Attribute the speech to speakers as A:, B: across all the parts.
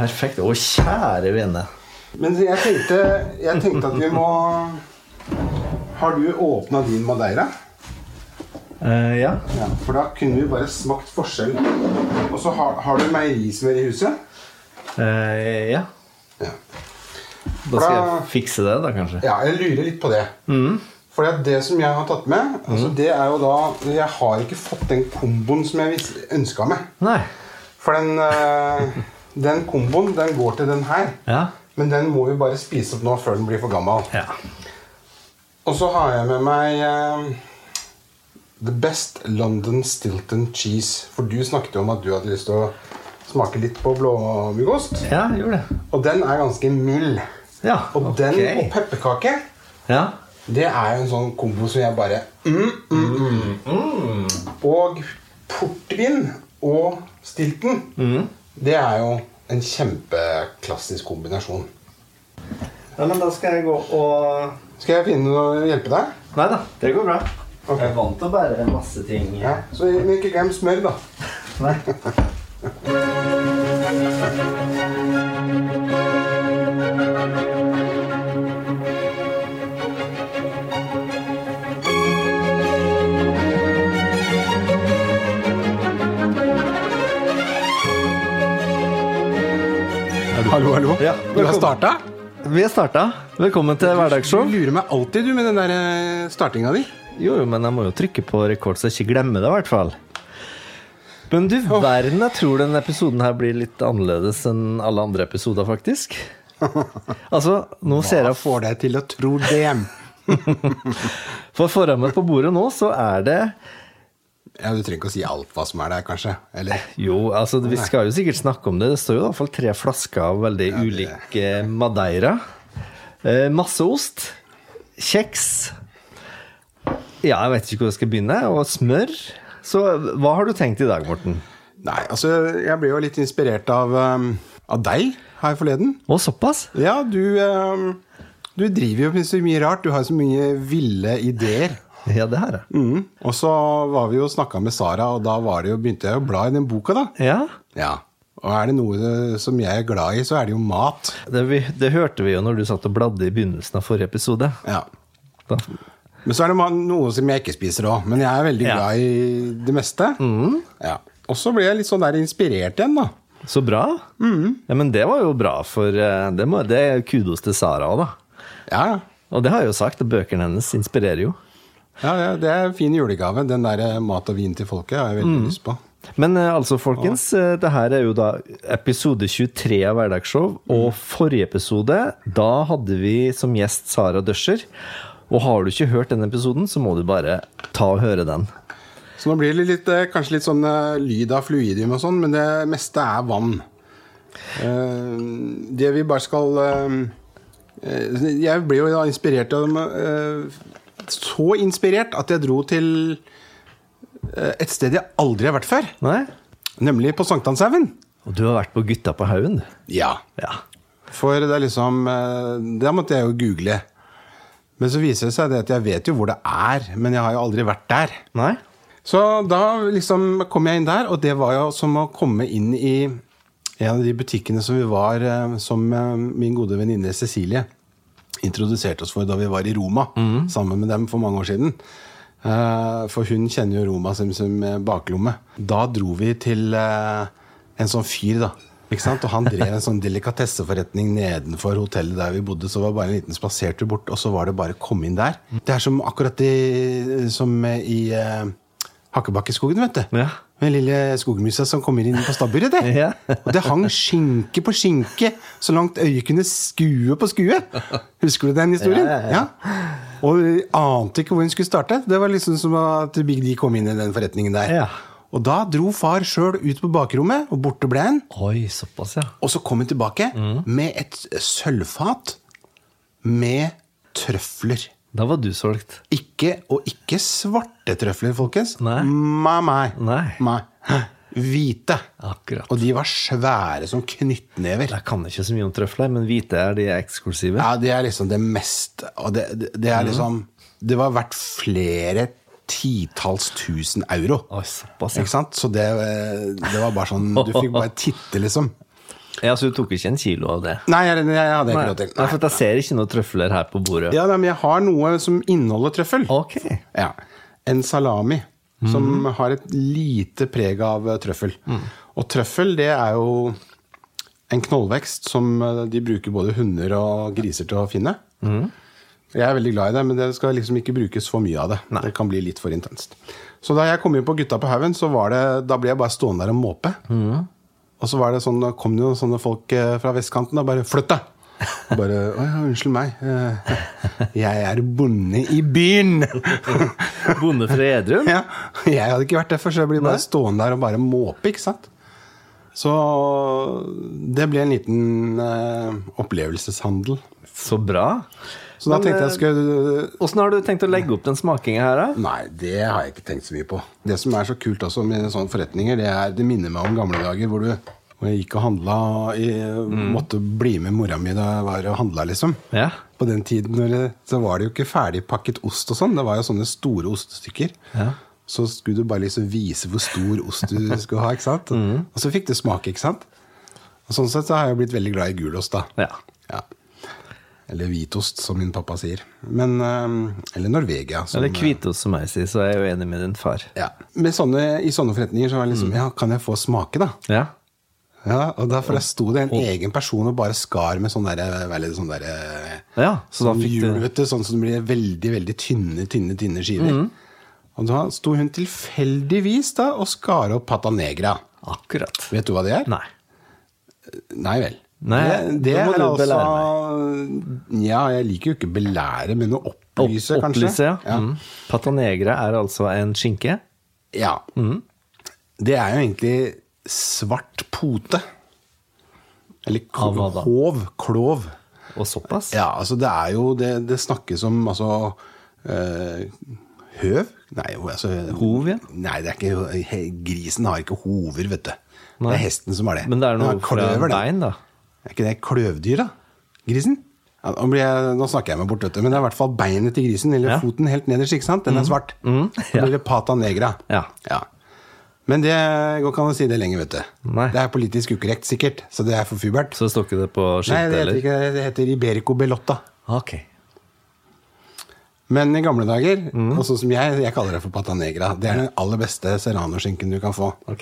A: Perfekt. Å, kjære vene.
B: Men jeg tenkte, jeg tenkte at vi må Har du åpna din Madeira?
A: Eh, ja.
B: Ja, for da kunne vi bare smakt forskjell. Og så har, har du meierismør i huset?
A: Eh, ja.
B: Ja.
A: Da skal
B: Da-
A: jeg fikse det, da, kanskje.
B: ja, jeg lurer litt på det. For det er det som jeg har tatt med, altså det er jo da Jeg har ikke fått den komboen som jeg ønska meg.
A: Nei.
B: For den, eh, den komboen, den går til den her.
A: Ja.
B: Men den må vi bare spise opp nå før den blir for gammel.
A: Ja.
B: Og så har jeg med meg eh, The Best London Stilton Cheese. For du snakket jo om at du hadde lyst til å smake litt på blåmuggost.
A: ja, gjorde det.
B: Og den er ganske mild.
A: Ja,
B: Og den og
A: ok.
B: pepperkake,
A: Ja.
B: det er jo en sånn kombo som jeg bare mm, mm, mm. Og portvin og stilton, det er jo en kjempeklassisk kombinasjon.
A: ja, men da skal jeg gå og
B: Skal jeg finne noe å hjelpe deg?
A: Nei da, det går bra.
B: Ok.
A: Jeg er vant til å bære masse ting.
B: Ja. Så men ikke glem smør, da.
A: Nei.
B: Hallo, hallo.
A: Ja,
B: Vi har starta.
A: Vi har starta. Velkommen til
B: Du
A: hverdagsshow.
B: lurer meg alltid du med den der eh, startinga di.
A: Jo, jo, men jeg må jo trykke på rekord, så jeg ikke glemmer det, i hvert fall. Men du verden, jeg tror denne episoden her blir litt annerledes enn alle andre episoder, faktisk. Altså, nå ser jeg
B: får deg til å tro det?
A: For foran meg på bordet nå, så er det
B: Ja, Du trenger ikke å si alt hva som er der, kanskje? Eller?
A: Jo, altså, vi skal jo sikkert snakke om det. Det står jo i hvert fall tre flasker av veldig ulik eh, Madeira. Eh, masse ost. Kjeks. Ja, jeg vet ikke hvor jeg skal begynne. Og smør. Så hva har du tenkt i dag, Morten?
B: Nei, altså, jeg ble jo litt inspirert av, um, av deg her forleden.
A: Å, såpass?
B: Ja, du, um, du driver jo med så mye rart. Du har så mye ville ideer.
A: Ja, det har jeg.
B: Mm. Og så var vi jo snakka med Sara, og da var det jo, begynte jeg å bla i den boka, da.
A: Ja.
B: Ja. Og er det noe som jeg er glad i, så er det jo mat.
A: Det, vi, det hørte vi jo når du satt og bladde i begynnelsen av forrige episode.
B: Ja.
A: Da.
B: Men så er det ma- noe som jeg ikke spiser òg. Men jeg er veldig
A: Ja.
B: glad i det meste. Ja. Og så ble jeg litt sånn der inspirert igjen, da.
A: Så bra. Ja, men det var jo bra, for eh, det, må, det er kudos til Sara òg, da.
B: Ja, ja.
A: Og det har jeg jo sagt, og bøkene hennes inspirerer jo.
B: ja, ja det er en fin julegave. Den der eh, mat og vin til folket har jeg veldig lyst på.
A: Men eh, altså, folkens, eh, det her er jo da episode 23 av Hverdagsshow. Og forrige episode, da hadde vi som gjest Sara Døscher. Og har du ikke hørt den episoden, så må du bare ta og høre den.
B: Så nå blir det litt, eh, kanskje litt sånn eh, lyd av fluidium og sånn, men det meste er vann. Eh, det vi bare skal eh, eh, Jeg ble jo da inspirert av eh, Så inspirert at jeg dro til eh, et sted jeg aldri har vært før.
A: Nei?
B: Nemlig på Sankthanshaugen.
A: Og du har vært på Gutta på haugen, du.
B: Ja.
A: Ja.
B: For det er liksom eh, Da måtte jeg jo google. Men så viser det seg det at jeg vet jo hvor det er, men jeg har jo aldri vært der.
A: Nei?
B: Så da liksom kom jeg inn der, og det var jo som å komme inn i en av de butikkene som vi var eh, Som eh, min gode venninne Cecilie introduserte oss for da vi var i Roma sammen med dem for mange år siden. Eh, For hun kjenner jo Roma som, som eh, baklomme. Da dro vi til eh, en sånn fyr, da. Ikke sant? Og han drev en sånn delikatesseforretning nedenfor hotellet der vi bodde. Så var det bare en liten spasertur bort, og så var det bare å komme inn der. Det er som akkurat det som eh, i eh, Hakkebakkeskogen, vet du.
A: Ja.
B: Med lille skogmusa som kommer inn på stabburet. Det.
A: Ja.
B: Og det hang skinke på skinke så langt øyet kunne skue på skue. Husker du den historien?
A: Ja, ja, ja.
B: Og vi ante ikke hvor hun skulle starte. Det var liksom som at Big D kom inn i den forretningen der.
A: Ja.
B: Og da dro far sjøl ut på bakrommet, og borte ble han.
A: Oi, såpass, ja.
B: Og så kom hun tilbake
A: Mm.
B: med et sølvfat med trøfler.
A: Da var du solgt.
B: Ikke, og ikke svarte trøfler, folkens.
A: Nei.
B: Nei, nei.
A: Nei.
B: Nei. Hvite.
A: Akkurat.
B: Og de var svære som knyttnever.
A: Jeg kan ikke så mye om trøfler, men hvite er de eksklusive.
B: Ja, det er liksom det mest Og det, det, det
A: Mm.
B: er liksom Det var verdt flere titalls tusen euro.
A: Oi, såpass, ja. altså.
B: Ikke sant? Så det, eh, det var bare sånn Du fikk bare titte, liksom.
A: Ja, så du tok ikke en kilo av det?
B: Nei, jeg, jeg hadde ikke
A: Nei,
B: råd til.
A: Nei, for at jeg ser ikke noen trøfler her på bordet.
B: Ja, nei, men jeg har noe som inneholder trøffel.
A: Ok.
B: Ja. En salami som har et lite preg av eh, trøffel. Og trøffel, det er jo en knollvekst som eh, de bruker både hunder og griser til å finne. Jeg er veldig glad i det, men det skal liksom ikke brukes for mye av det. Det kan bli litt for intenst. Så da jeg kom inn på Gutta på haugen, så var det, da ble jeg bare stående der og måpe. Og så var det sånn, da kom det jo sånne folk eh, fra vestkanten og bare 'flytt deg'! Og Bare, Å ja, unnskyld meg. eh, Jeg er bonde i byen!
A: Bonde fra Edrum?
B: Ja, jeg hadde ikke vært det før, så jeg blir bare stående der og bare måpe, ikke sant? Så det ble en liten eh, opplevelseshandel.
A: Så bra.
B: Så da
A: Men,
B: tenkte
A: eh,
B: jeg skulle
A: Åssen har du tenkt å legge opp den smakinga her, da?
B: Nei, det har jeg ikke tenkt så mye på. Det som er så kult også med sånne forretninger, det, er, det minner meg om gamle dager hvor du hvor jeg gikk og handla i,
A: Mm.
B: Måtte bli med mora mi da jeg var og handla, liksom.
A: Ja.
B: På den tiden når det, så var det jo ikke ferdigpakket ost og sånn. Det var jo sånne store ostestykker.
A: Ja.
B: Så skulle du bare liksom vise hvor stor ost du skulle ha, ikke sant?
A: Mhm.
B: Og så fikk du smake, ikke sant? Og sånn sett så har jeg jo blitt veldig glad i gulost, da.
A: ja.
B: Ja. Eller hvitost, som min pappa sier. Men, eh, eller Norvegia. Som,
A: Eller hvitost, som jeg sier, så er jeg jo enig med din far.
B: ja. Med sånne, I sånne forretninger så var det
A: Mm.
B: liksom Ja, kan jeg få smake, da?
A: Ja.
B: Ja, og Derfor sto det en egen person og bare skar med sånn derre hva er det, sånn derre-
A: ja så da
B: sånn
A: fikk
B: hjul,
A: du
B: vet du, sånn som blir veldig, veldig tynne, tynne, tynne skiver.
A: Mhm.
B: Og da sto hun tilfeldigvis da og skar opp pata negra.
A: Akkurat.
B: Vet du hva det er?
A: Nei.
B: Nei vel.
A: Nei,
B: det det
A: da må
B: er
A: du
B: altså
A: belære
B: Ja, jeg liker jo ikke belære, men å
A: Opp-
B: opplyse, kanskje.
A: Opplyse, ja. Mm. Pata negra er altså en skinke.
B: Ja.
A: Mhm.
B: Det er jo egentlig svart pote. Eller
A: Av hva da?
B: hov, klov.
A: Og såpass?
B: Ja, altså det er jo Det, det snakkes om altså eh, Høv? Nei, jo, altså
A: Hov, ja.
B: Nei, det er ikke, he, grisen har ikke hover, vet du. Det
A: Nei.
B: er hesten som har det.
A: Men det er noe
B: Den har
A: fra
B: kløver, den.
A: bein, da?
B: Er ikke det kløvdyr, da? Grisen? Ja, nå, blir jeg, nå snakker jeg meg bort, vet du. Men det er i hvert fall beinet til grisen, eller
A: Ja. Mm.
B: foten helt nederst, ikke sant? Den er svart.
A: ja.
B: Eller pata negra.
A: Ja.
B: Men det går ikke an å si det lenger, vet du.
A: Nei.
B: Det er politisk ukorrekt, sikkert, så det er for fubert.
A: Så står ikke det på
B: Nei,
A: skiltet,
B: det heter,
A: eller?
B: ikke, det heter Iberico belotta.
A: Ok.
B: Men i gamle dager, og sånn som jeg, jeg kaller det for pata negra, det er den aller beste serranoskinken du kan få.
A: ok.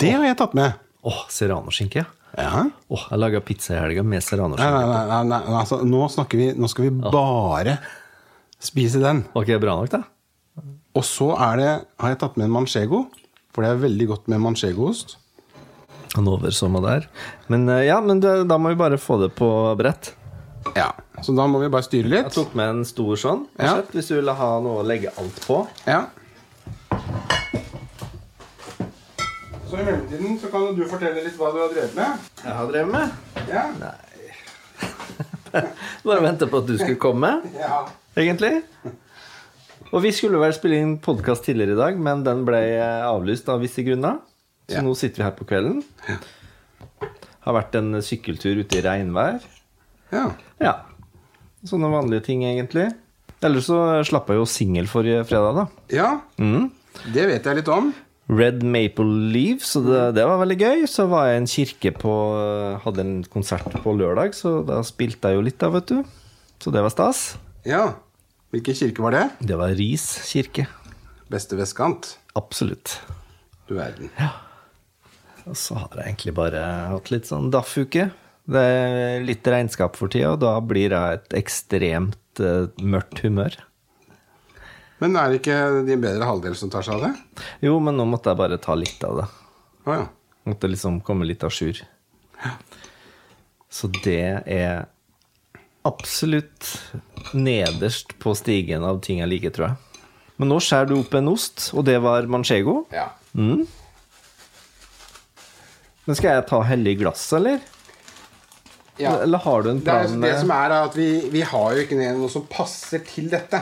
B: Det har jeg tatt med.
A: Åh, serranoskinke, ja.
B: Ja.
A: Åh, jeg laga pizza i helga med
B: Nei,
A: serranoskinke.
B: nei, nei, nei, nei altså, nå snakker vi Nå skal vi bare spise den.
A: Var ikke det bra nok, da?
B: Og så er det, har jeg tatt med en manchego, for det er veldig godt med manchegoost.
A: Han overså meg der. Men eh, ja, men det, da må vi bare få det på brett.
B: Ja, Så da må vi bare styre
A: Jeg
B: litt.
A: tok med en stor sånn,
B: Ja.
A: rett og slett, hvis du ville ha noe å legge alt på.
B: Ja. Så i mellomtiden så kan jo du fortelle litt hva du har drevet med.
A: Jeg har drevet med.
B: Ja.
A: Bare vente på at du skulle komme,
B: ja.
A: egentlig. Og vi skulle vel spille inn podkast tidligere i dag, men den ble eh, avlyst av visse grunner. Så
B: Ja.
A: nå sitter vi her på kvelden. Har vært en sykkeltur ute i regnvær.
B: ja.
A: Ja. Sånne vanlige ting, egentlig. Ellers så slapp jeg jo singel forrige fredag, da.
B: Ja, det vet jeg litt om.
A: Red Maple Leaf, så det, det var veldig gøy. Så var jeg i en kirke på Hadde en konsert på lørdag, så da spilte jeg jo litt, da, vet du. Så det var stas.
B: Ja. Hvilken kirke var det?
A: Det var Ris kirke.
B: Beste vestkant.
A: Absolutt.
B: Du verden.
A: Og så har jeg egentlig bare hatt litt sånn daff-uke. Det er litt regnskap for tida, og da blir jeg et ekstremt eh, mørkt humør.
B: Men er det ikke de bedre halvdel som tar seg av det?
A: Jo, men nå måtte jeg bare ta litt av det.
B: Å ja.
A: Måtte liksom komme litt à jour. Så det er absolutt nederst på stigen av ting jeg liker, tror jeg. Men nå skjærer du opp en ost, og det var manchego.
B: ja.
A: Men skal jeg ta hellig glass, eller?
B: Ja.
A: Eller har du en
B: Det, er,
A: plan
B: det som
A: med
B: er, er at vi, vi har jo ikke noe som passer til dette.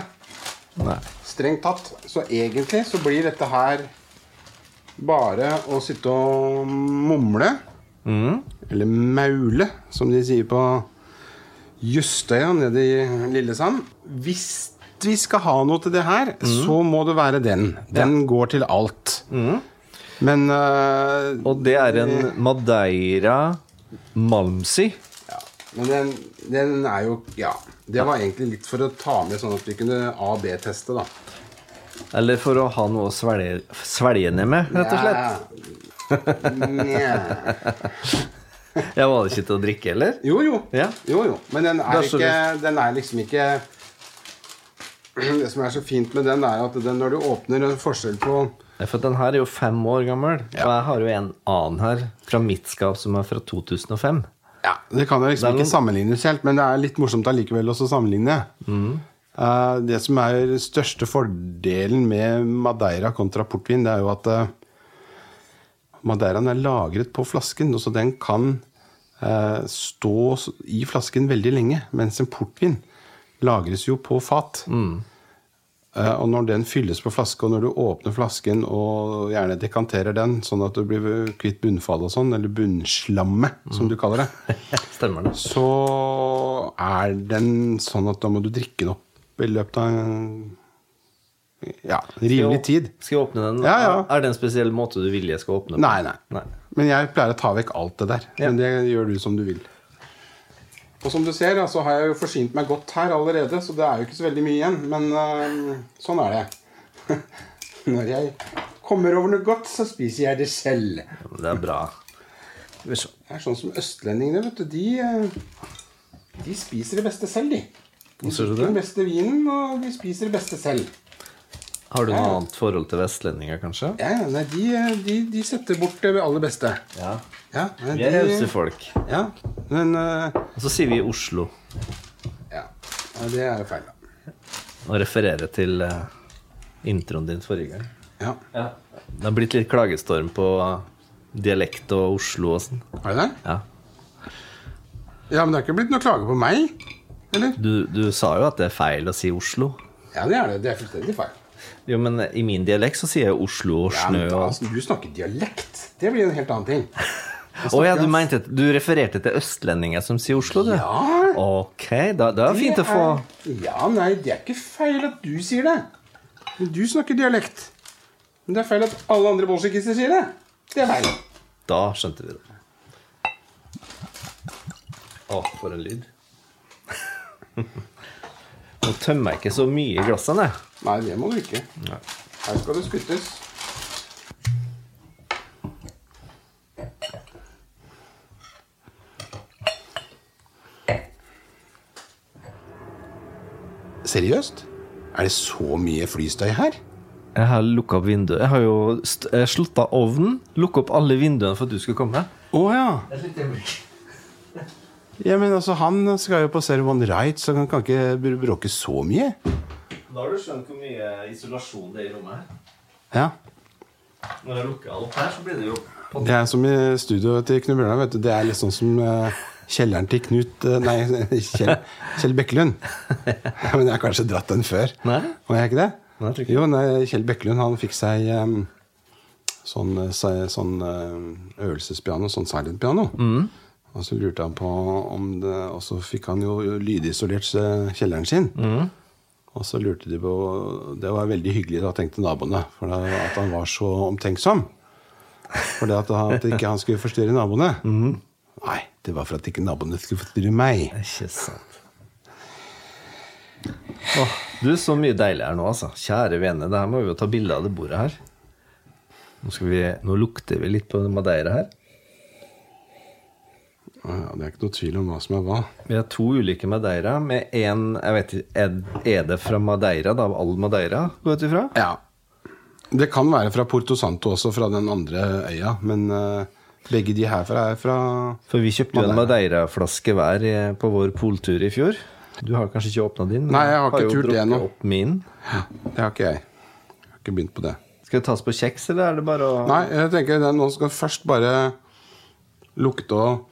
A: Nei.
B: Strengt tatt. Så egentlig så blir dette her bare å sitte og mumle.
A: Mm.
B: Eller maule, som de sier på Justøya nede i Lillesand. Hvis
A: Mm.
B: vi skal ha noe til det her, så må det være den. Den går til alt. Men eh,
A: Og det er en Madeira Malmsey.
B: ja. Men den, den er jo Ja. Det var egentlig litt for å ta med sånn at vi kunne A-B-teste, da.
A: Eller for å ha noe å svelge, svelge ned med, rett og slett.
B: Nja.
A: Jeg var det ikke til å drikke heller.
B: Jo, jo.
A: Ja.
B: jo, jo. Men den
A: Det
B: er,
A: er så
B: ikke, den er liksom ikke Det som er så fint med den, er at den når du åpner en forskjell på
A: Nei, For den her er jo fem år gammel, og jeg har jo en annen her fra mitt skap som er fra 2005.
B: ja, Det kan jo liksom
A: Det er
B: ikke
A: noen-
B: sammenlignes helt, men det er litt morsomt allikevel også å sammenligne.
A: Mm.
B: Eh, det som er den største fordelen med Madeira kontra portvin, det er jo at eh, Madeiraen er lagret på flasken, så den kan eh, stå s- i flasken veldig lenge. Mens en portvin lagres jo på fat. Eh, og når den fylles på flaske, og når du åpner flasken og gjerne dekanterer den, sånn at du blir kvitt bunnfallet og sånn, eller bunnslammet, som du kaller det,
A: Stemmer det?
B: så er den sånn at da må du drikke den opp i løpet av en ja, rimelig tid.
A: Skal jeg åpne den?
B: Ja, ja.
A: Er det en spesiell måte du vil jeg skal åpne på?
B: Nei, nei.
A: Nei.
B: Men jeg pleier å ta vekk alt det der. Men det gjør du som du vil. Og som du ser, ja, så har jeg jo forsynt meg godt her allerede, så det er jo ikke så veldig mye igjen. Men øhm, sånn er det. Når jeg kommer over noe godt, så spiser jeg det selv.
A: Ja, men Det er bra. Skal vi se.
B: Det er sånn som østlendingene, vet du. De, øh, de spiser det beste selv, de. De
A: Ser du
B: drikker
A: det?
B: den beste vinen, og de spiser det beste selv.
A: Har du noe annet forhold til vestlendinger, kanskje?
B: Ja, ja, nei, de, øh, de, de setter bort det aller beste.
A: Ja.
B: Ja, nei,
A: Vi er
B: de-
A: rause folk.
B: Ja, men øh,
A: Og så sier vi Oslo
B: Ja, ja det er jo feil, da.
A: og refererer til eh, introen din forrige gang.
B: Ja.
A: Det har blitt litt klagestorm på dialekt og Oslo og sånn.
B: Er det det?
A: Ja.
B: Ja, men det har ikke blitt noe klage på meg? Eller?
A: Du, du sa jo at det er feil å si Oslo.
B: Ja, det er det. Det er fullstendig feil.
A: Jo, men i min dialekt så sier jeg Oslo og
B: Ja, men
A: snø
B: da,
A: og
B: altså, du snakker dialekt. Det blir en helt annen ting.
A: Å ja, du mente Du refererte til østlendinger som sier Oslo, du?
B: Ja.
A: Ok, da, da er det fint å få
B: er- Ja, nei, det er ikke feil at du sier det. Men du snakker dialekt. Men det er feil at alle andre bolsjekister sier det. Det er feil.
A: Da skjønte vi det. Å, for en lyd. Nå tømmer jeg ikke så mye i glassene.
B: Nei, det må du ikke.
A: Nei.
B: Her skal det skuttes. Seriøst? Er det så mye flystøy her?
A: Jeg har lukka opp vinduet. Jeg har jo st- eh, slutta ovnen. Lukka opp alle vinduene for at du skulle komme.
B: Å ja.
A: Et lite øyeblikk.
B: ja. Men altså, han skal jo på Ceremon Right, så han kan ikke br- bråke så mye.
A: Da har du skjønt hvor mye isolasjon det er i rommet her.
B: Ja.
A: Når jeg lukker opp her, så blir det jo
B: Det er som i studioet til Knut Bjørnar, vet du. Det er litt sånn som eh, kjelleren til Knut eh, Nei, Kjell, Kjell Bekkelund. Ja, Men jeg har kanskje dratt den før.
A: Nei.
B: Var jeg ikke det?
A: Nei, jeg tror ikke.
B: Jo, nei, Kjell Bekkelund han fikk seg em, sånn, eh, si- sånn eh, øvelsespiano, sånn silent-piano.
A: Mm.
B: Og så lurte han på om det Og så fikk han jo lydisolert eh, kjelleren sin.
A: Mm.
B: Og så lurte de på Det var veldig hyggelig, da, tenkte naboene, for da, at han var så omtenksom. For det at, han, at ikke han skulle forstyrre naboene.
A: Mm.
B: Nei, det var for at ikke naboene skulle forstyrre meg.
A: Ikke sant. Åh, du, så mye deilig her nå, altså. Kjære vene, det her må vi jo ta bilde av det bordet her. Nå, skal vi, nå lukter vi litt på madeira her.
B: Ja, det er ikke noe tvil om hva som er hva.
A: Vi har to ulike madeira med én Jeg vet ikke, er- er det fra madeira, da? All madeira, går jeg ut ifra?
B: Ja. Det kan være fra Porto Santo også, fra den andre øya. Men eh, begge de herfra er fra
A: For vi kjøpte jo en madeiraflaske hver eh, på vår poltur i fjor. Du har kanskje ikke åpna din? men
B: Nei, jeg har ikke
A: jo
B: turt det
A: drukket
B: ennå.
A: opp Min.
B: Ja, Det har ikke jeg. Jeg har ikke begynt på det.
A: Skal det tas på kjeks, eller er det bare å
B: Nei, jeg tenker den nå skal først bare lukte og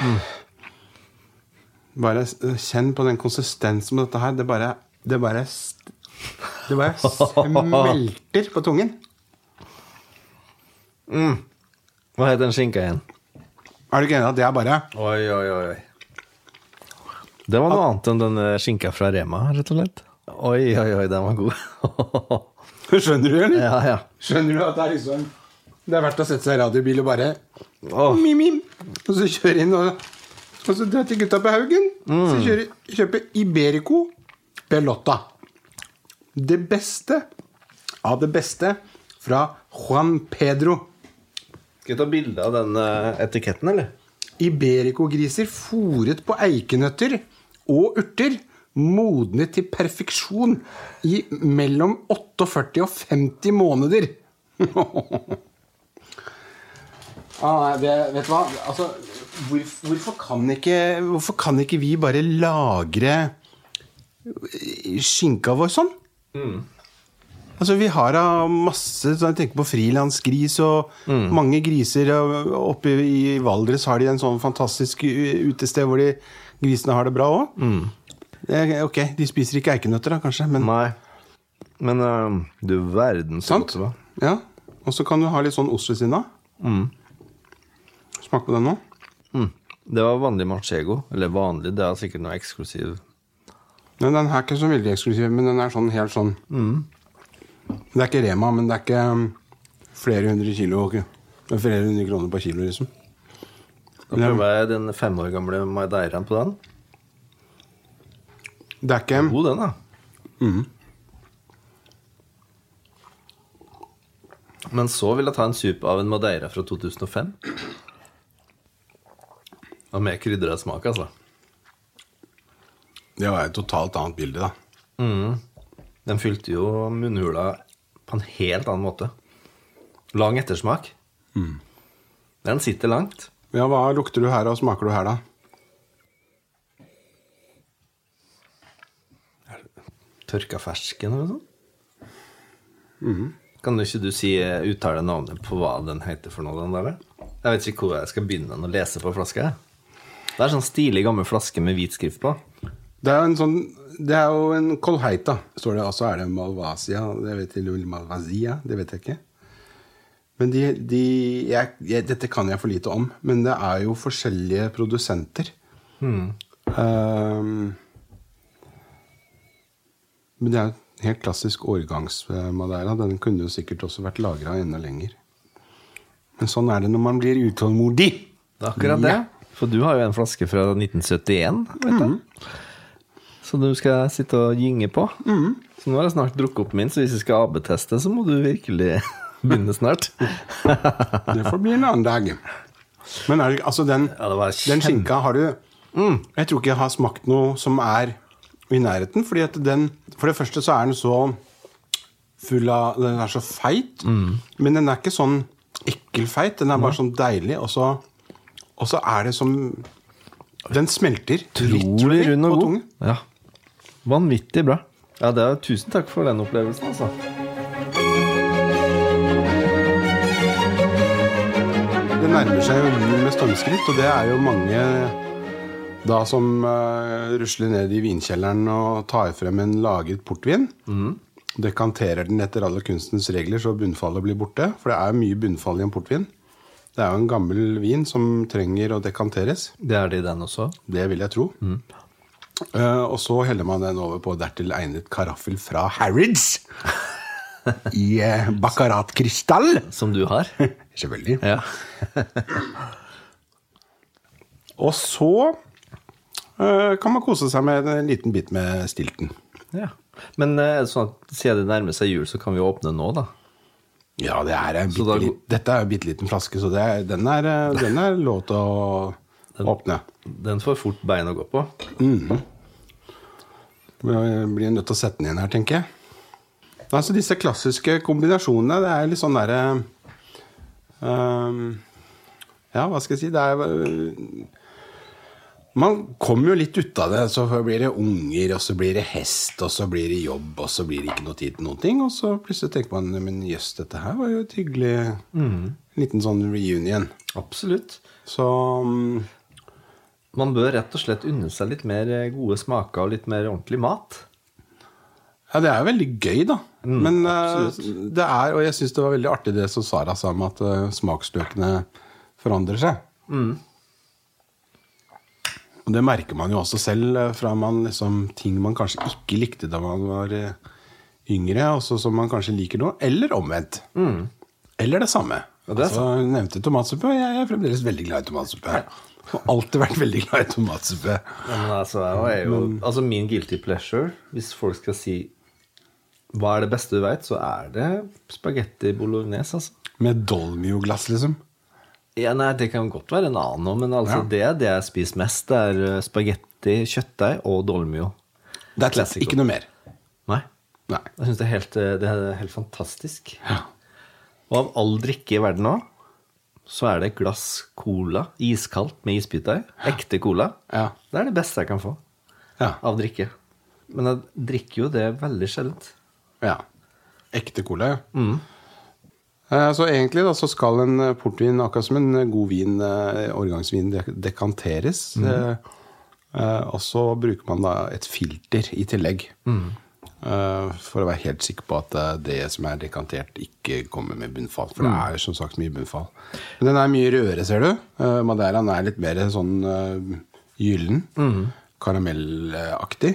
B: Mm. Bare s- kjenn på den konsistensen med dette her. Det bare Det bare, s- det bare smelter på tungen.
A: Hva heter den skinka igjen?
B: Er du ikke enig i at det er bare
A: Oi, oi, oi. Det var noe annet enn den eh, skinka fra Rema, rett og slett. Oi, oi, oi, den var god.
B: Skjønner du, eller?
A: ja, ja.
B: Skjønner du at det er liksom Det er verdt å sette seg i radiobil og bare
A: Åh.
B: mim, mim. Og så kjøre inn og, og så dra til gutta på Haugen. Så kjøre, kjøpe Iberico Belotta. Det beste av det beste fra Juan Pedro.
A: Skal jeg ta bilde av den eh, etiketten, eller?
B: Iberico-griser fôret på eikenøtter og urter. Modnet til perfeksjon i mellom 48 og 50 måneder. ah, nei, det, vet du hva? Altså, hvor, hvorfor, kan ikke, hvorfor kan ikke vi bare lagre eh, skinka vår sånn? Altså, vi har da masse sånn, Jeg tenker på frilansgris og mange griser. og Oppe i i Valdres har de en sånn fantastisk u- utested hvor de grisene har det bra òg. Ok, de spiser ikke eikenøtter, da, kanskje, men
A: Nei. Men eh, du verden så
B: sant?
A: godt det var.
B: Ja. Og så kan du ha litt sånn ost ved siden av. Smak på den nå.
A: Mm. Det var vanlig manchego. Eller vanlig, det er sikkert noe eksklusiv.
B: Men den her er ikke så veldig eksklusiv, men den er sånn helt sånn Det er ikke Rema, men det er ikke um, flere hundre kilo. ok? Det er flere hundre kroner på kilo, liksom.
A: Da prøver jeg den fem år gamle Madeiraen på den.
B: Det er ikke
A: God, den, da. Men så vil jeg ta en sup av en Madeira fra 2005. Og med krydra smak, altså.
B: Det var et totalt annet bilde, da.
A: Den fylte jo munnhula på en helt annen måte. Lang ettersmak. Den sitter langt.
B: Ja, Hva lukter du her, og smaker du her, da?
A: Tørka fersken eller noe sånt. Kan du ikke du si, eh, uttale navnet på hva den heter for noe? den der? Jeg vet ikke hvor jeg skal begynne å lese på flaska. jeg. Det er sånn stilig gammel flaske med hvit skrift på.
B: Det er jo en sånn Det er jo en kolheita, står det. Og så er det malvasia. Det vet jeg, eller malvasia, det vet jeg ikke. Men de, de jeg, jeg, Dette kan jeg for lite om, men det er jo forskjellige produsenter. Ehm, men det er jo en helt klassisk årgangsmadeira. Den kunne jo sikkert også vært lagra enda lenger. Men sånn er det når man blir utålmodig.
A: Det er akkurat det.
B: Ja.
A: For du har jo en flaske fra 1971, vet jeg. Så du skal sitte og gynge på. Så nå har jeg snart drukket opp min, så hvis jeg skal AB-teste, så må du virkelig begynne snart.
B: Det får bli en annen dag. Men er det, altså den,
A: Ja, det var
B: den
A: kjempe- Mm.
B: skinka har du Jeg tror ikke jeg har smakt noe som er i nærheten. Fordi at den, for det første så er den så full av Den er så feit.
A: Mm.
B: Men den er ikke sånn ekkel feit. Den er bare sånn deilig, og så, og så er det som Den smelter.
A: Utrolig
B: literally
A: rund
B: på
A: og god.
B: tungen.
A: Ja. Vanvittig bra. Ja, det er, tusen takk for den opplevelsen, altså.
B: Det nærmer seg jo jul med stormskritt, og det er jo mange da som eh, rusler ned i vinkjelleren og tar frem en lagret portvin. Dekanterer den etter alle kunstens regler så bunnfallet blir borte. For det er jo mye bunnfall i en portvin. Det er jo en gammel vin som trenger å dekanteres.
A: Det er det i den også.
B: Det vil jeg tro. Eh, og så heller man den over på dertil egnet karaffel fra Harrods. I eh, baccaratkrystall.
A: Som du har.
B: Selvfølgelig.
A: Ja.
B: Og så eh, kan man kose seg med en liten bit med stilten.
A: ja. Men eh, er det sånn at siden det nærmer seg jul, så kan vi åpne nå, da.
B: Ja, det er en
A: da-
B: bitte lit- dette er en bitte liten flaske, så det er, den, er, eh, den er lov til å åpne.
A: Den får fort bein å gå på.
B: Jeg blir nødt til å sette den igjen her, tenker jeg. Altså Disse klassiske kombinasjonene, det er litt sånn derre eh, Ja, hva skal jeg si Det er eh, Man kommer jo litt ut av det. Så blir det unger, og så blir det hest, og så blir det jobb, og så blir det ikke noe tid til noen ting. Og så plutselig tenker man men jøss, dette her var jo et hyggelig liten sånn reunion.
A: Absolutt.
B: Så mm,
A: Man bør rett og slett unne seg litt mer eh, gode smaker og litt mer ordentlig mat.
B: Ja, det er jo veldig gøy, da.
A: Mm,
B: Men eh, det er, og jeg syns det var veldig artig det som Sara sa om at eh, smaksløkene forandrer seg.
A: Mm.
B: Og det merker man jo også selv eh, fra man liksom, ting man kanskje ikke likte da man var eh, yngre, og så som man kanskje liker nå, eller omvendt. Eller det samme.
A: Mm. Ja, det er
B: altså, hun nevnte tomatsuppe, og jeg er fremdeles veldig glad i tomatsuppe. Og alltid vært veldig glad i tomatsuppe.
A: Men altså, jeg er jo, altså min guilty pleasure, hvis folk skal si hva er det beste du vet, så er det spagetti bolognese, altså.
B: Med dolmio-glass, liksom.
A: Ja, nei, det kan godt være en annen òg, men altså,
B: Ja.
A: det er det jeg spiser mest. Det er eh, spagetti, kjøttdeig og dolmio.
B: Det er
A: Classico.
B: Ikke noe mer.
A: Nei.
B: Nei.
A: Jeg syns det, er helt, eh, det er helt fantastisk.
B: Ja.
A: Og av all drikke i verden nå, så er det et glass cola, iskaldt med isbiter i. Ekte cola.
B: Ja.
A: Det er det beste jeg kan få
B: Ja.
A: av drikke. Men jeg drikker jo det veldig sjeldent.
B: ja. Ekte cola, ja. Eh, Så egentlig da, så skal en eh, portvin, akkurat som en eh, god vin, eh, årgangsvin, dek- dekanteres. Eh, eh, Og så bruker man da et filter i tillegg. Eh, For å være helt sikker på at eh, det som er dekantert, ikke kommer med bunnfall. For det er jo som sagt mye bunnfall. Men den er mye rødere, ser du. Eh, Madeiraen er litt mer sånn eh, gyllen. Karamellaktig.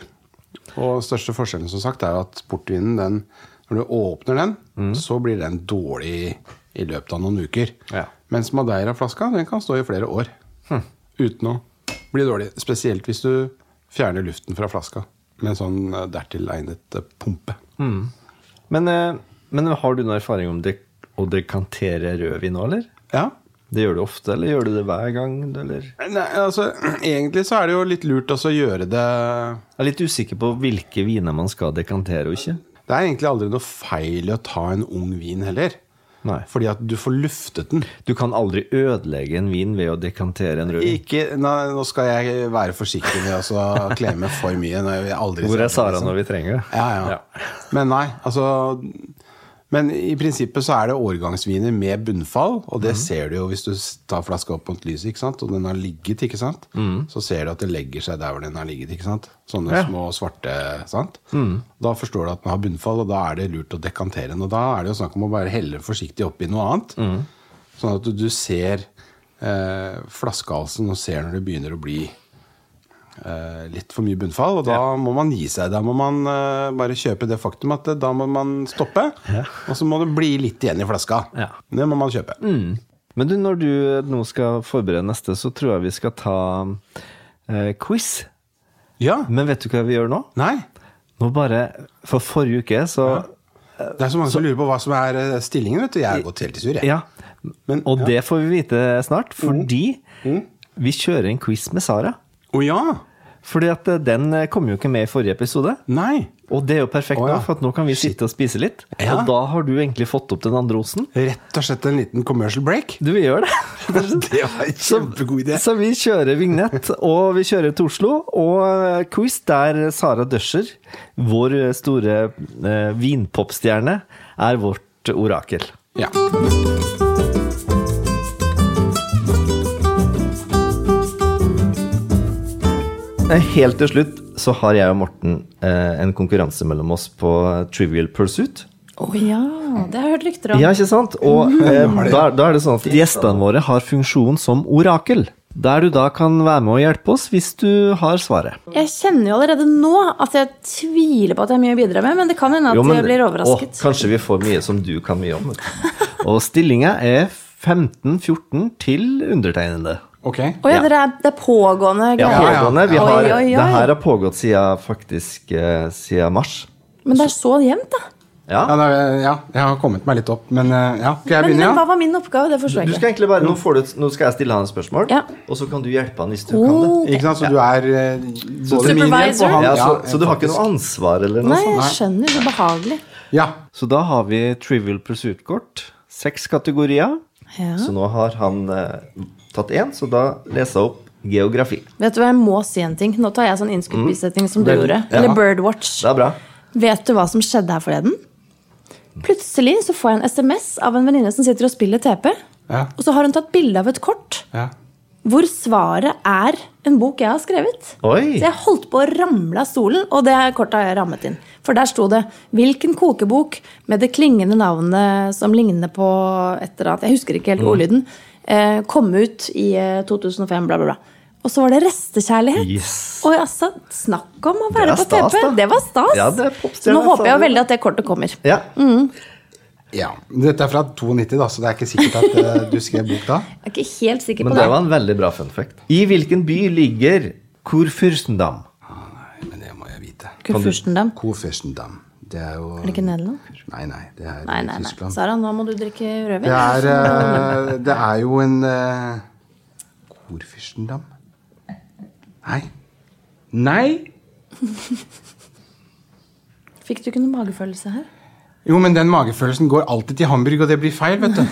B: Og største forskjellen som sagt er jo at portvinen, den, når du åpner den, så blir den dårlig i løpet av noen uker.
A: Ja.
B: Mens Madeira-flaska den kan stå i flere år Hm. uten å bli dårlig. Spesielt hvis du fjerner luften fra flaska med en sånn eh, dertil egnet eh, pumpe.
A: Men, eh, men har du noen erfaring om dek å dekantere rødvin nå, eller?
B: Ja.
A: Det gjør du ofte, eller gjør du det hver gang? Eller?
B: Nei, altså, egentlig så er det jo litt lurt også å gjøre det
A: Jeg er litt usikker på hvilke viner man skal dekantere og ikke.
B: Det er egentlig aldri noe feil i å ta en ung vin heller.
A: Nei.
B: Fordi at du får luftet den.
A: Du kan aldri ødelegge en vin ved å dekantere en rødvin.
B: Ikke, nei, nå skal jeg være forsiktig med å så klemme for mye. Når jeg aldri
A: Hvor er
B: ser
A: Sara når vi trenger det?
B: Ja, ja. Men nei, altså Men i prinsippet så er det årgangsviner med bunnfall, og det ser du jo hvis du tar flaska opp mot lyset, ikke sant? og den har ligget, ikke sant? Så ser du at det legger seg der hvor den har ligget, ikke sant? Sånne
A: Ja.
B: små svarte, sant? Da forstår du at den har bunnfall, og da er det lurt å dekantere den, og da er det jo snakk om å bare helle forsiktig opp i noe annet, sånn at du, du ser eh, flaskehalsen og ser når det begynner å bli eh, litt for mye bunnfall, og da må man gi seg. Da må man eh, bare kjøpe det faktum at eh, da må man stoppe, og så må det bli litt igjen i flaska.
A: Ja. Mm.
B: Det må man kjøpe.
A: Men du, når du nå skal forberede neste, så tror jeg vi skal ta eh, quiz.
B: Ja.
A: Men vet du hva vi gjør nå?
B: Nei.
A: Nå bare, For forrige uke, så
B: Det er så mange som lurer på hva som er eh, stillingen, vet du. Jeg har gått helt i sur, jeg.
A: Ja. Mm.
B: Men-
A: og det får vi vite snart, fordi vi kjører en quiz med Sara.
B: Å ja!
A: Fordi at eh, den eh, kom jo ikke med i forrige episode.
B: Nei.
A: Og det er jo perfekt
B: Å, ja.
A: nå, for at nå kan vi sitte og spise litt.
B: Ja.
A: Og da har du egentlig fått opp den andre osen.
B: Rett og slett en liten commercial break.
A: Du vil gjøre det?
B: Det var en kjempegod idé.
A: Så vi kjører vignett, og vi kjører til Oslo. Og eh, quiz der Sara Døscher, vår eh, store eh, vinpopstjerne, er vårt orakel.
B: Ja.
A: Eh, Helt til slutt så har jeg og Morten eh, en konkurranse mellom oss på Trivial Pursuit.
C: Å ja, det har jeg hørt rykter om.
A: Ja, ikke sant? Og
C: Mhm.
A: eh, da, da er det sånn at gjestene våre har funksjon som orakel. Der du da kan være med og hjelpe oss hvis du har svaret.
C: Jeg kjenner jo allerede nå at jeg tviler på at jeg har mye å bidra med, men det kan hende at
A: Jo, men-
C: jeg blir
A: Å,
C: overrasket.
A: kanskje vi får mye som du kan mye om. vet du. Og stillinga er 15-14 til undertegnede.
B: Ok.
C: Å ja, dere er, det er pågående
A: Ja,
C: greier.
A: pågående. Vi
C: Oi,
A: har,
C: oi, oi.
A: Det her har pågått siden faktisk eh, siden mars.
C: Men det er så jevnt, da.
B: Ja,
A: Ja.
B: da, ja, jeg har kommet meg litt opp, men eh, ja. Skal jeg
C: Men,
B: begynne,
C: men hva
B: ja?
C: var min oppgave? Det forstår
A: Du
C: jeg ikke.
A: skal egentlig bare, nå, får du, et- nå skal jeg stille han et spørsmål,
C: Ja. Oh.
A: og så kan du hjelpe han hvis du kan det.
C: Ok.
B: Ikke sant, så du er eh, både min hjelp
C: Supervisor?
B: og han.
A: Ja, så,
B: ja,
A: så du har ikke noe ansvar eller noe
C: Nei,
A: sånt?
C: jeg skjønner. Så behagelig.
B: Ja.
A: Så da har vi Trivial Pursuit-kort. Seks kategorier.
C: Ja.
A: Så nå har han eh, tatt én, så da leser jeg opp geografi.
C: Vet du hva, jeg må si en ting. Nå tar jeg sånn innskutt bisetting som du
A: Mm. Vel,
C: gjorde.
A: ja.
C: Eller Birdwatch.
A: Det er bra.
C: Vet du hva som skjedde her forleden? Plutselig så får jeg en SMS av en venninne som sitter og spiller TP.
B: Ja.
C: Og så har hun tatt bilde av et kort
B: ja.
C: hvor svaret er en bok jeg har skrevet.
A: Oi.
C: Så jeg holdt på å ramle av stolen, og det kortet har jeg rammet inn. For der sto det 'Hvilken kokebok' med det klingende navnet som ligner på et eller annet Jeg husker
A: Mm.
C: ikke helt ordlyden. Eh, kom ut i eh, 2005, bla, bla, bla. Og så var det restekjærlighet.
A: Yes.
C: Oi, altså, snakk om å være
A: Det er
C: på
A: stas,
C: TP!
A: da.
C: Det var stas!
A: Ja, det er
C: så
A: popstjerne,
C: nå håper
A: sa
C: jeg
A: du.
C: Mm, veldig at det kortet kommer.
A: Ja.
B: Ja. Dette er fra 92, da, så det er ikke sikkert at eh, du skrev bok da.
C: Jeg er ikke helt sikker
A: Men
C: på
A: det
C: det.
A: var en veldig bra fun fact. I hvilken by ligger Kurfürstendam?
B: Ah, Nei, men det må jeg vite.
C: Kurfürstendam.
B: Kurfürstendam. Det er jo
C: Er det ikke Nederland?
B: Nei, nei. Det er
C: Nei, nei, nei.
B: Tyskland.
C: Sara, nå må du drikke rødvin. Altså,
B: Det er, eh, det er jo en eh, Kurfürstendam Nei. Nei!
C: Fikk du ikke noen magefølelse her?
B: Jo, men den magefølelsen går alltid til Hamburg, og det blir feil, vet du.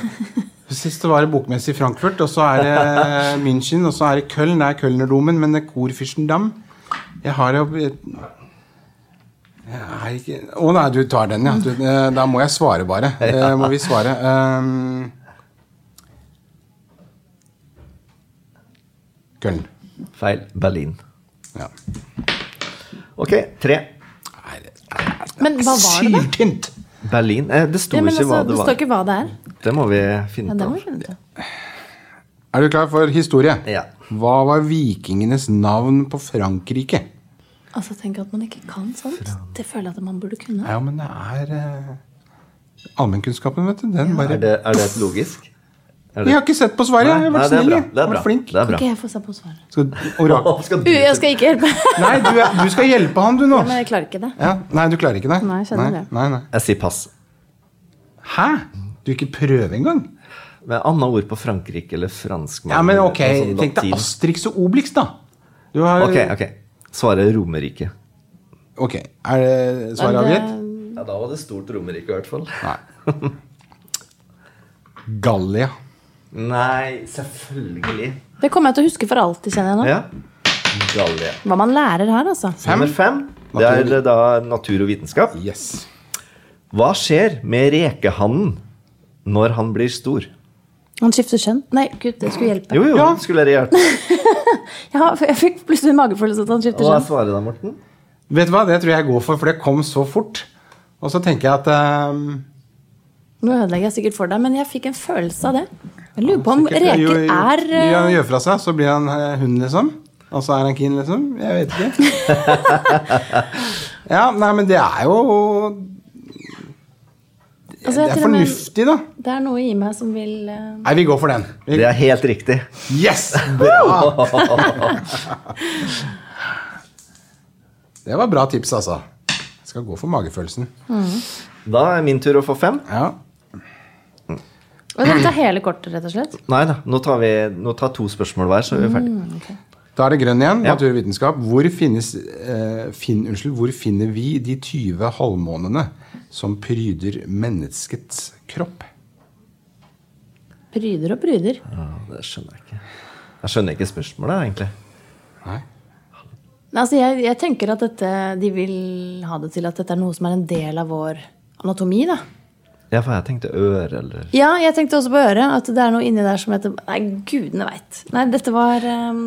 B: Sist det var det bokmesse i Frankfurt, og så er det München, og så er det Köln. Det er Kölnerdomen, men det er Kurfürstendam. Jeg har jo jeg, er ikke Å nei, du tar den, ja. Du, eh, da må jeg svare, bare. Eh, må vi svare. Um, Köln.
A: Feil. Berlin.
B: Ja.
A: Ok, tre.
B: Nei, det er
C: Men hva var det, da?
B: Syltynt!
A: Berlin eh, Det sto
C: Ja, men
A: ikke
C: altså,
A: hva
C: det
A: det
C: står
A: var.
C: ikke hva det er.
A: Det må vi finne
C: Ja,
A: ut
C: det må vi
A: av.
C: finne ut av.
B: Er du klar for historie?
A: Ja.
B: Hva var vikingenes navn på Frankrike?
C: Altså, tenk at man ikke kan sånt. Det føler jeg at man burde kunne.
B: Ja, men det er eh, allmennkunnskapen, vet du. Den bare
A: Er det, er det et logisk? er det-
B: Jeg har ikke sett på svaret! jeg har
A: Nei,
B: vært
A: det er
B: snill.
A: bra.
B: jeg.
A: Det
B: Jeg
A: er
B: har
A: bra.
B: vært flink.
A: Det er
C: Kan
A: bra.
C: ikke jeg få seg på svaret?
B: Skal, orak...
A: Å, skal
C: U,
A: du
C: jeg skal ikke hjelpe.
B: Nei, du, er- du skal hjelpe han, du, nå!
C: Men jeg klarer ikke det.
B: Ja. Nei, du klarer ikke det?
C: Nei, jeg skjønner
B: nei,
C: det.
B: Nei, nei.
A: Jeg sier pass.
B: Hæ? Du ikke prøver engang?
A: Med annet ord på Frankrike eller franskmann.
B: Ja, men
A: eller
B: ok,
A: noe sånn
B: tenk deg
A: latin.
B: Astrix og Obelix, da. Du har
A: Ok, ok. Svaret er Romerike.
B: ok. Er det svaret
C: Men det-
B: avgitt?
A: Ja, da var det stort Romerike, i hvert fall.
B: Nei. Gallia.
A: Nei, selvfølgelig.
C: Det kommer jeg til å huske for alltid, kjenner jeg nå.
A: Ja. Gallia.
C: Hva man lærer her, altså.
A: Nummer fem. Det er da natur og vitenskap.
B: Yes.
A: Hå skjer med rekehannen når han blir stor?
C: Han skifter kjønn. Nei, gud, det skulle hjelpe.
A: Jo, jo, skulle dere hjelpe?
C: Jeg, har, jeg fikk plutselig en magefølelse at han skifter
A: Hva
C: kjønn.
A: er svaret da, Morten?
B: Vet du hva, det tror jeg jeg går for, for det kom så fort. Og så tenker jeg at ehm,
C: Nå ødelegger jeg sikkert for deg, men jeg fikk en følelse av det. Jeg lurer på om
B: sikkert- jo,
C: reker
B: jo,
C: er eh,
B: Gjør han gjør fra seg, så blir han eh, hund, liksom. Og så er han keen, liksom. Jeg vet ikke. ja, nei, men det er jo Det er
C: altså, jeg til og med,
B: fornuftig, da.
C: det er noe i meg som vil eh,
B: Nei, vi går for den. Vi,
A: Det er helt riktig.
B: yes! Bra! det var bra tips, altså. Jeg skal gå for magefølelsen.
A: Da er min tur å få fem.
B: Ja.
C: Og dere tar hele kortet, rett og slett?
A: Nei da, nå tar vi nå tar to spørsmål hver, så er vi ferdig.
B: Da er det grønn igjen.
A: Ja.
B: Natur og vitenskap. Hvor, finnes, eh, finn, unnskyld, hvor finner vi de 20 halvmånene som pryder menneskets kropp?
C: Pryder og pryder.
A: Ja, det skjønner jeg ikke. Jeg skjønner ikke spørsmålet, egentlig.
B: Nei.
C: Nei, Altså, jeg, jeg tenker at dette, de vil ha det til at dette er noe som er en del av vår anatomi. da.
A: Ja, for jeg tenkte øre, eller
C: Ja, jeg tenkte også på øret. At det er noe inni der som heter Nei, gudene veit. Nei, dette var ehm,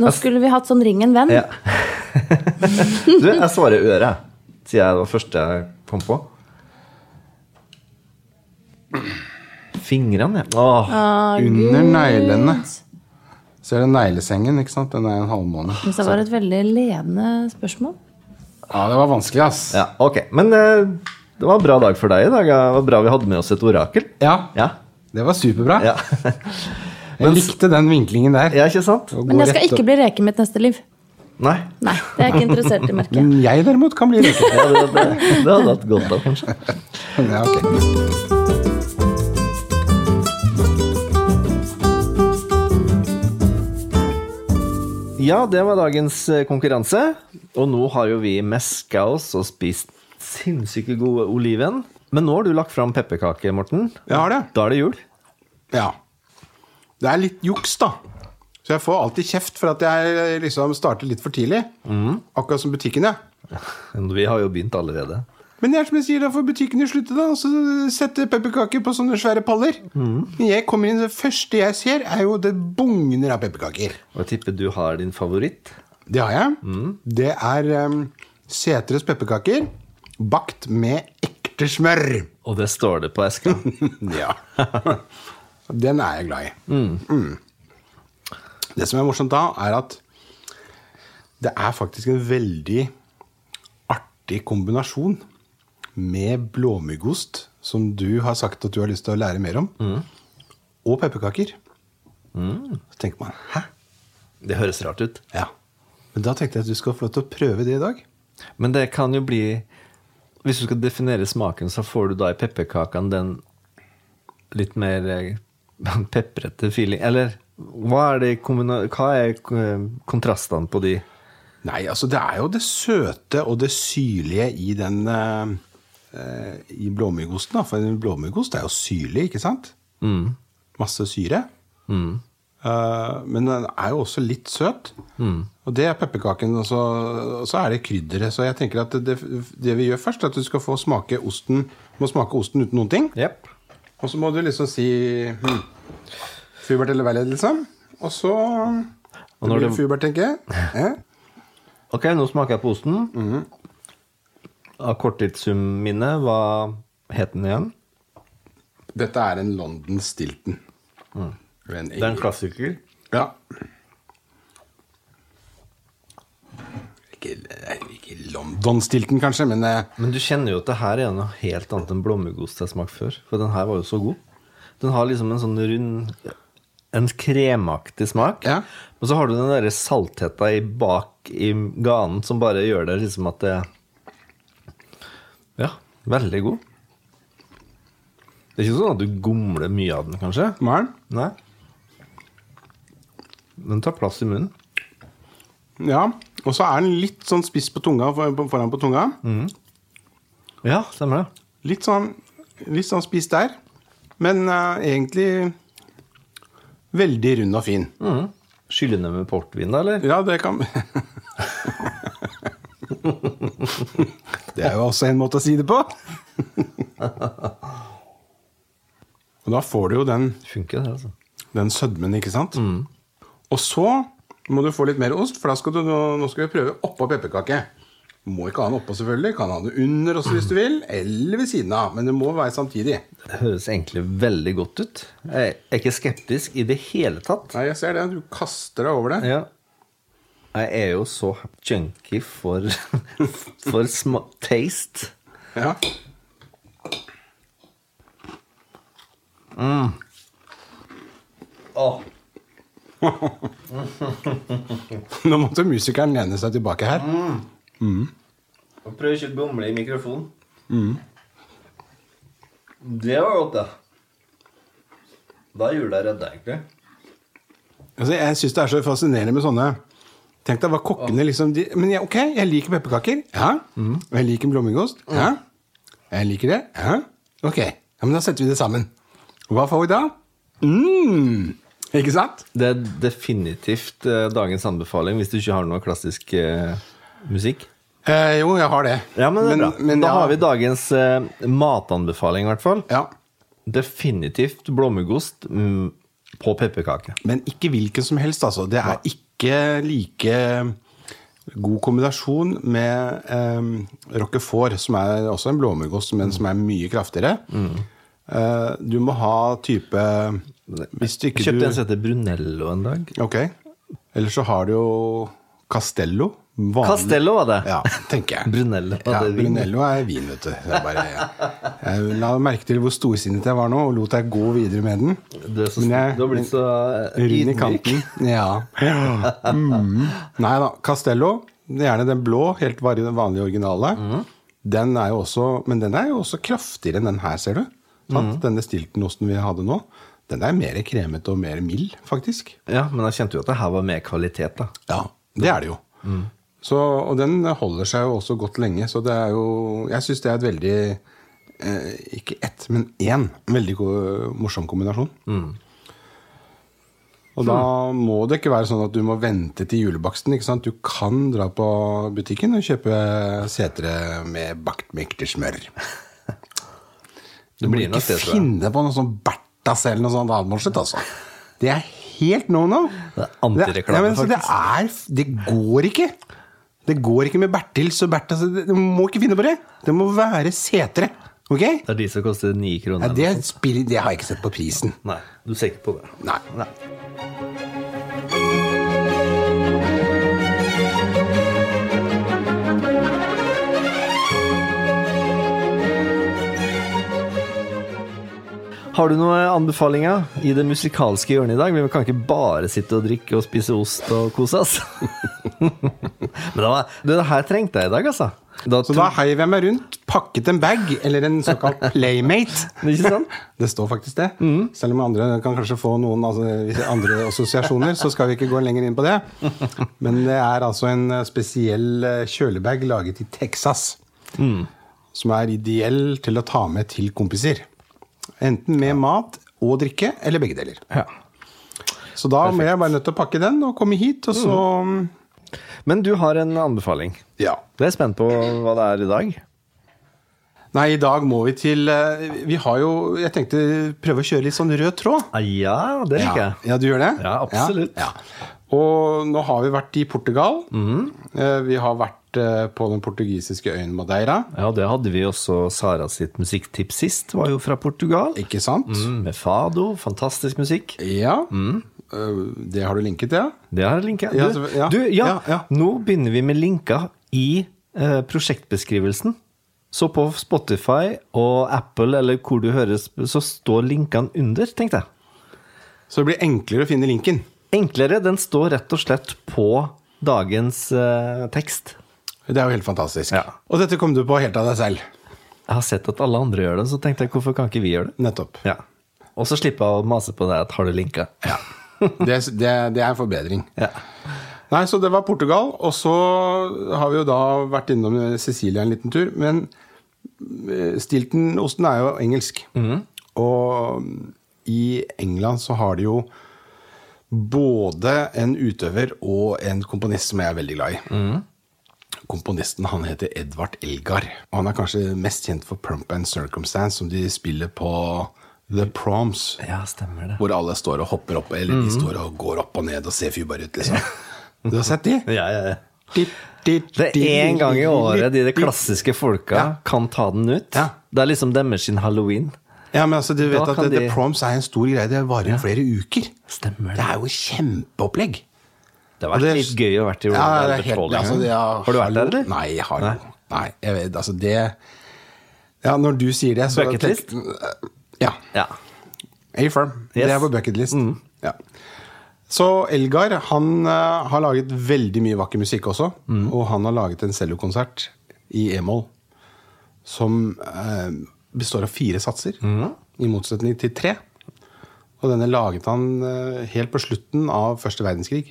C: Nå
B: Altså-
C: skulle vi hatt sånn Ring en venn.
A: Ja. Du, jeg svarer øre, jeg. siden jeg var første jeg kom på. Fingrene, ja. Åh,
B: Under neglene. Ser du neglesengen? ikke sant? Den er en halvmåne.
C: Syns det var et veldig ledende spørsmål.
B: Ja, det var vanskelig, ass.
A: ja. Ok. Men eh, det var en bra dag for deg i dag. ja. Det var bra vi hadde med oss et orakel.
B: Ja,
A: Ja.
B: Det var superbra.
A: ja.
B: Jeg likte den vinklingen der.
A: ja ikke sant?
B: Å gå
C: Men jeg skal
B: rett
C: ikke
B: opp.
C: bli reke i mitt neste liv.
A: Nei.
C: Nei, det er jeg ikke interessert i, merker jeg.
B: Men jeg derimot kan bli røket.
A: Ja, det, det, det hadde vært godt da, kanskje.
B: Ja, ok.
A: Ja, det var dagens eh, konkurranse. Og nå har jo vi meska oss og spist sinnssyke gode oliven. Men nå har du lagt fram pepperkake, Morten.
B: Jeg har det.
A: Da er det jul.
B: Ja. Det er litt juks, da. Så jeg får alltid kjeft for at jeg liksom starter litt for tidlig.
A: Mhm.
B: Akkurat som butikken, ja.
A: Vi har jo begynt allerede.
B: Men det er som jeg sier, da får butikkene slutte, da. Og så sette pepperkaker på sånne svære paller.
A: Mhm.
B: Men jeg kommer inn, det første jeg ser, er jo det bugner av pepperkaker.
A: Og jeg tipper du har din favoritt.
B: Det har jeg. Det er um, Setres pepperkaker bakt med ekte smør.
A: Og det står det på eska.
B: ja. Den er jeg glad i. Mm. Det som er morsomt da, er at det er faktisk en veldig artig kombinasjon med blåmuggost, som du har sagt at du har lyst til å lære mer om, og pepperkaker. Så tenker man hæ?
A: Det høres rart ut.
B: Ja. Men da tenkte jeg at du skal få lov til å prøve det i dag.
A: Men det kan jo bli Hvis du skal definere smaken, så får du da i pepperkakene den litt mer eh, pepprete feeling Eller hva er, det, i kombina- hva er eh, kontrastene på de?
B: Nei, altså det er jo det søte og det syrlige i den eh, eh, i blåmuggosten. da. For en blåmuggost er jo syrlig, ikke sant?
A: Mm.
B: Masse syre. Eh, men den er jo også litt søt.
A: Mm.
B: Og det er pepperkaken, og så, og så er det krydderet. Så jeg tenker at det, det vi gjør først, er at du skal få smake osten, må smake osten uten noen ting.
A: Jepp.
B: Og så må du liksom si hm, Fubert eller Valley, liksom. Og så
A: Og
B: Det
A: når
B: blir
A: det-
B: Fubert, tenker jeg. Eh?
A: Ok, nå smaker jeg på osten. Av korttidsum-minnet, hva het den igjen?
B: Dette er en London Stilton. En
A: Det er en klassiker.
B: Ja. Ikke, nei, ikke London Stilton, kanskje, men eh,
A: Men du kjenner jo at det her er noe helt annet enn blåmuggost jeg smakte før. For den her var jo så god. Den har liksom en sånn rund En kremaktig smak.
B: Ja.
A: Men så har du den derre saltheta i bak i ganen som bare gjør det liksom at det Ja, veldig god. Det er ikke sånn at du gomler mye av den, kanskje?
B: Maren?
A: Nei. Den tar plass i munnen.
B: Ja. Og så er den litt sånn spiss på tunga, for- på- foran på tunga.
A: Ja, stemmer det.
B: Litt sånn, litt sånn spiss der. Men eh, egentlig veldig rund og fin.
A: Skyller den med portvin, da, eller?
B: Ja, det kan Det er jo også en måte å si det på. Og da får du jo den,
A: Funker det, altså.
B: den sødmen, ikke sant? Og så må du få litt mer ost, for da skal du, nå nå skal vi prøve oppå pepperkake. Må ikke ha den oppå, selvfølgelig. Kan ha den under også hvis du vil. Eller ved siden av. Men det må være samtidig.
A: Det høres egentlig veldig godt ut. Jeg er ikke skeptisk i det hele tatt.
B: Nei, jeg ser det. Du kaster deg over det.
A: Ja. Jeg er jo så junkie for, for sma taste.
B: Ja.
A: Åh,
B: Nå måtte musikeren lene seg tilbake her.
A: prøv ikke å gomle i mikrofonen. Mm. Det var godt, da. Da er jula redda, egentlig.
B: Altså, jeg syns det er så fascinerende med sånne Tenk deg hva kokkene liksom de, Men jeg, ok, jeg liker pepperkaker. Ja.
A: Mhm.
B: Og jeg liker blåmuggost.
A: Mm.
B: Ja. Jeg liker det. Ja. Ok. Ja, men da setter vi det sammen. Og hva får vi da? Mm. Ikke sant?
A: Det er definitivt eh, dagens anbefaling hvis du ikke har noe klassisk eh, musikk.
B: Eh, jo, jeg har det.
A: Ja, men det er bra.
B: men
A: da
B: ja.
A: har vi dagens eh, matanbefaling, i hvert fall.
B: Ja.
A: Definitivt blåmuggost mm, på pepperkake.
B: Men ikke hvilken som helst, altså. Det er ikke like god kombinasjon med eh, roquefort, som er også en blåmuggost,
A: Mm.
B: men som er mye kraftigere. Eh, du må ha type Hvis du
A: Jeg
B: ikke
A: kjøpte en
B: du
A: som heter Brunello en dag.
B: Ok. Eller så har du jo Castello. Vanlig-
A: Castello var det.
B: Ja, tenker jeg.
A: Brunello,
B: Ja,
A: det er vin.
B: Brunello er vin, vet du. Jeg, bare, jeg, jeg la merke til hvor storsinnet jeg var nå, og lot deg gå videre med den.
A: Du, er så,
B: Men jeg-
A: du har blitt så eh,
B: Rund i
A: ydmyk.
B: kanten. Ja. Mm. Nei da. Castello, det er gjerne den blå, helt var- vanlige originale. Den er jo også, men den er jo også kraftigere enn den her, ser du. Sant? Denne Stilton-osten vi hadde nå. Den er mer kremete og mer mild, faktisk.
A: Ja, men jeg kjente jo at det her var mer kvalitet, da.
B: Ja, det er det jo. Så, og den holder seg jo også godt lenge, så det er jo Jeg syns det er et veldig eh, Ikke ett, men én veldig god, morsom kombinasjon. Og da må det ikke være sånn at du må vente til julebaksten. ikke sant? Du kan dra på butikken og kjøpe setre med bakt smør. Du må
A: blir nok
B: ikke
A: det, tror jeg.
B: finne på noe sånn Bertas eller noe sånt avmorslet, altså. Det er helt no no.
A: Det er antireklame,
B: Ja, men altså, det er, det går ikke. Det går ikke med Bertils og Bertas. Du må ikke finne på det. Det må være setre. Ok?
A: Det er de som koster ni
B: Ja,
A: kroner.
B: det, spiller, det har jeg ikke sett på prisen.
A: Nei, du ser ikke på det.
B: Nei.
A: Har du noen anbefalinger i det musikalske hjørnet i dag? Vi kan ikke bare sitte og drikke og spise ost og kose oss. Men det, var, du, det her trengte jeg i dag, altså. Da
B: Så da heiv jeg meg rundt, pakket en bag, eller en såkalt playmate.
A: Ikke sant?
B: Det står faktisk det. Selv om andre kan kanskje få noen altså, hvis- andre assosiasjoner, så skal vi ikke gå lenger inn på det. Men det er altså en eh, spesiell eh, kjølebag laget i Texas. Som er ideell til å ta med til kompiser. Enten med mat og drikke, eller begge deler.
A: Ja.
B: Så da må jeg bare nødt til å pakke den og komme hit, og så
A: Mm.
B: mm,
A: Men du har en anbefaling.
B: Ja.
A: Jeg er spent på hva det er i dag.
B: Nei, i dag må vi til eh, Vi har jo Jeg tenkte prøve å kjøre litt sånn rød tråd.
A: Ah, ja, det liker
B: Ja.
A: jeg.
B: ja, du gjør det?
A: Ja, absolutt.
B: Ja, ja. Og nå har vi vært i Portugal.
A: Mhm.
B: Eh, Vi har vært eh, på den portugisiske øyen Madeira.
A: Ja, det hadde vi også Sara sitt musikktips sist. Var jo fra Portugal.
B: Ikke sant?
A: Mm, Med Fado. Fantastisk musikk.
B: Ja.
A: Mhm.
B: Eh, Det har du linket, ja?
A: Det har jeg linka. Du,
B: Ja,
A: ja,
B: så- ja.
A: du ja,
B: Ja, ja.
A: nå begynner vi med linker i eh, prosjektbeskrivelsen. Så på Spotify og Apple eller hvor du høres, så står linkene under, tenkte jeg.
B: Så det blir enklere å finne linken.
A: Enklere. Den står rett og slett på dagens eh, tekst.
B: Det er jo helt fantastisk.
A: Ja.
B: Og dette kom du på helt av deg selv.
A: Jeg har sett at alle andre gjør det, så tenkte jeg hvorfor kan ikke vi gjøre det?
B: Nettopp.
A: Ja. Og så slipper jeg å mase på deg at har du linka?
B: Ja. Det, det, det er en forbedring.
A: Ja.
B: Nei, så det var Portugal, og så har vi jo da vært innom Cecilia en liten tur. Men eh, Stilton-osten er jo engelsk. Og i England så har de jo både en utøver og en komponist som jeg er veldig glad i. Komponisten han heter Edvard Elgar. Og han er kanskje mest kjent for Prump and Circumstance, som de spiller på The Proms.
A: ja, stemmer det.
B: Hvor alle står og hopper opp, eller de står og går opp og ned og ser fjubare ut, liksom. Du har sett de?
A: Ja, ja, ja. Det er én gang i året de, de klassiske folka
B: Ja.
A: kan ta den ut.
B: Ja.
A: Det er liksom deres sin halloween.
B: Ja, men altså, du vet
A: Da
B: at
A: kan
B: The
A: de-
B: Proms er en stor greie. Det varer flere uker.
A: Stemmer
B: Det er jo kjempeopplegg.
A: Det har vært
B: Og det-
A: litt gøy å vært i
B: Ja,
A: Royal
B: det er
A: Albert
B: helt-
A: Hall en
B: altså,
A: gang.
B: det er-
A: Har du vært der, eller?
B: Nei, jeg har
A: Nei.
B: jo Nei, jeg vet, altså det Ja, når du sier det, så
A: Bucket list?
B: tenk- Ja.
A: Ja.
B: A-firm.
A: Yes.
B: Det er på bucketlist. Ja. Så Elgar han eh, har laget veldig mye vakker musikk også. Og han har laget en cellokonsert i e-moll som eh, består av fire satser. I motsetning til tre. Og denne laget han eh, helt på slutten av første verdenskrig.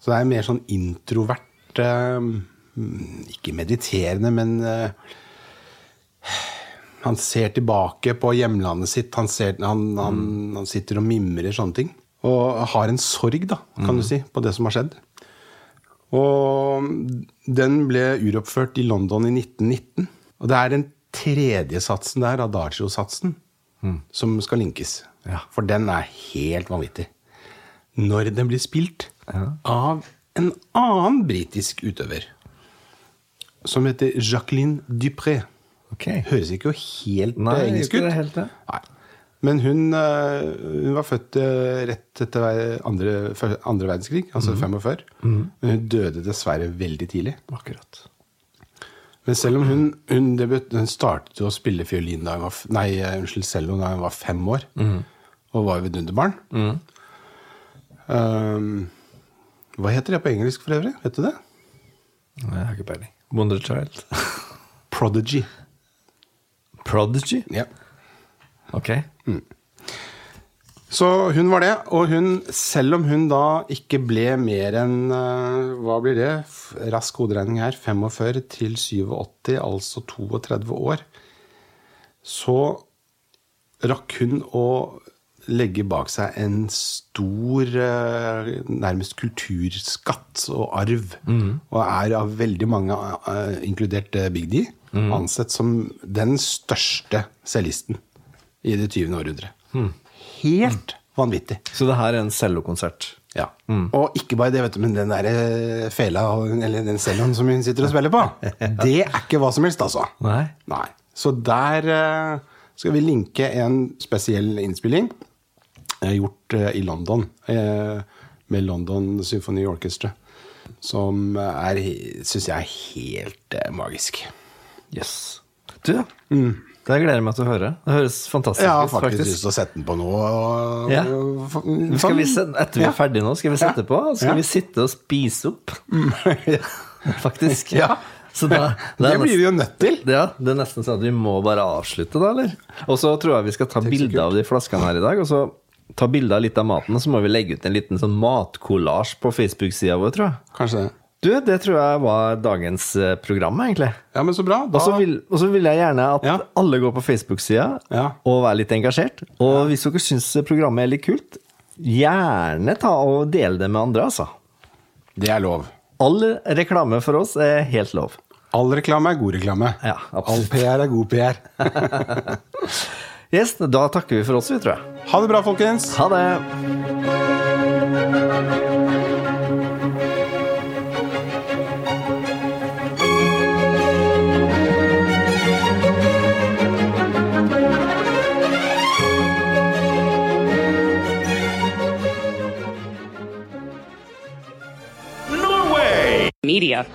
B: Så det er mer sånn introvert eh, mm, Ikke mediterende, men eh, han ser tilbake på hjemlandet sitt. Han, ser, han, han, han sitter og mimrer sånne ting. Og har en sorg, da, kan du si, på det som har skjedd. Og den ble uroppført i London i 1919. Og det er den tredje satsen der, Adagio-satsen, som skal linkes.
A: Ja.
B: For den er helt vanvittig. Når den blir spilt av en annen britisk utøver, som heter Jacqueline Dupré.
A: Ok.
B: Høres ikke jo helt
A: Nei,
B: eh, engelsk
A: ikke
B: ut.
A: det helt det.
B: Nei. Men hun, eh, hun var født eh, rett etter ver- andre, før- andre verdenskrig, altså
A: Mhm.
B: 45. Men hun døde dessverre veldig tidlig.
A: Akkurat.
B: Men selv om hun, hun, debut, hun startet jo å spille fiolin da hun var, f- nei, eh, unnskyld, cello da hun var fem år,
A: Mhm.
B: og var vidunderbarn um, Hva heter det på engelsk for øvrig? Vet du det?
A: Nei, jeg har ikke peiling. Wonder Child.
B: Prodigy.
A: Prodigy?
B: Ja.
A: Ok.
B: Så hun var det, og hun, selv om hun da ikke ble mer enn eh, Hva blir det? F- Rask hoderegning her. 45 til 87, altså 32 år. Så rakk hun å legge bak seg en stor, eh, nærmest kulturskatt og arv. Og er av veldig mange, eh, inkludert eh, Big D, ansett som den største cellisten i det 20. århundret. Helt vanvittig.
A: Så det her er en cellokonsert.
B: Ja. Og ikke bare det, vet du, men den der eh, fela, eller den celloen som hun sitter og spiller på, det er ikke hva som helst, altså.
A: Nei.
B: Nei. Så der eh, skal vi linke en spesiell innspilling eh, gjort eh, i London. eh, Med London Symphony Orchestra. Som er, syns jeg er helt eh, magisk.
A: Jøss. Du, Det gleder jeg meg til å høre. Det høres fantastisk
B: Jeg har
A: ut,
B: Mm. faktisk
A: faktisk.
B: lyst til å sette den på nå. Og,
A: Ja.
B: og-
A: Skal vi
B: sånn.
A: sette, etter vi
B: Ja.
A: er ferdige nå, skal vi sette på? og så Skal
B: Ja. Mm.
A: vi sitte og spise opp, faktisk?
B: Ja.
A: Så da, da
B: Det
A: er
B: blir vi jo nødt til.
A: nesten- ja, det er nesten sånn at vi må bare avslutte, da, eller? Og så tror jeg vi skal ta bilde av de flaskene her i dag, og så ta bilde av litt av maten, og så må vi legge ut en liten sånn matkollasj på Facebook-sida vår, tror jeg.
B: Kanskje det.
A: Du, det tror jeg var dagens eh, program, egentlig.
B: Ja, men så bra. Da,
A: Og så vil, og så vil jeg gjerne at
B: Ja.
A: alle går på Facebook-sida
B: Ja.
A: og er litt engasjert. Og hvis dere syns programmet er litt kult, gjerne ta og del det med andre, altså.
B: Det er lov.
A: All reklame for oss er helt lov.
B: All reklame er god reklame.
A: Ja,
B: All
A: absolutt.
B: PR er god PR.
A: Yes, da takker vi for oss, vi, tror jeg.
B: Ha det bra, folkens.
A: Ha det.
D: media.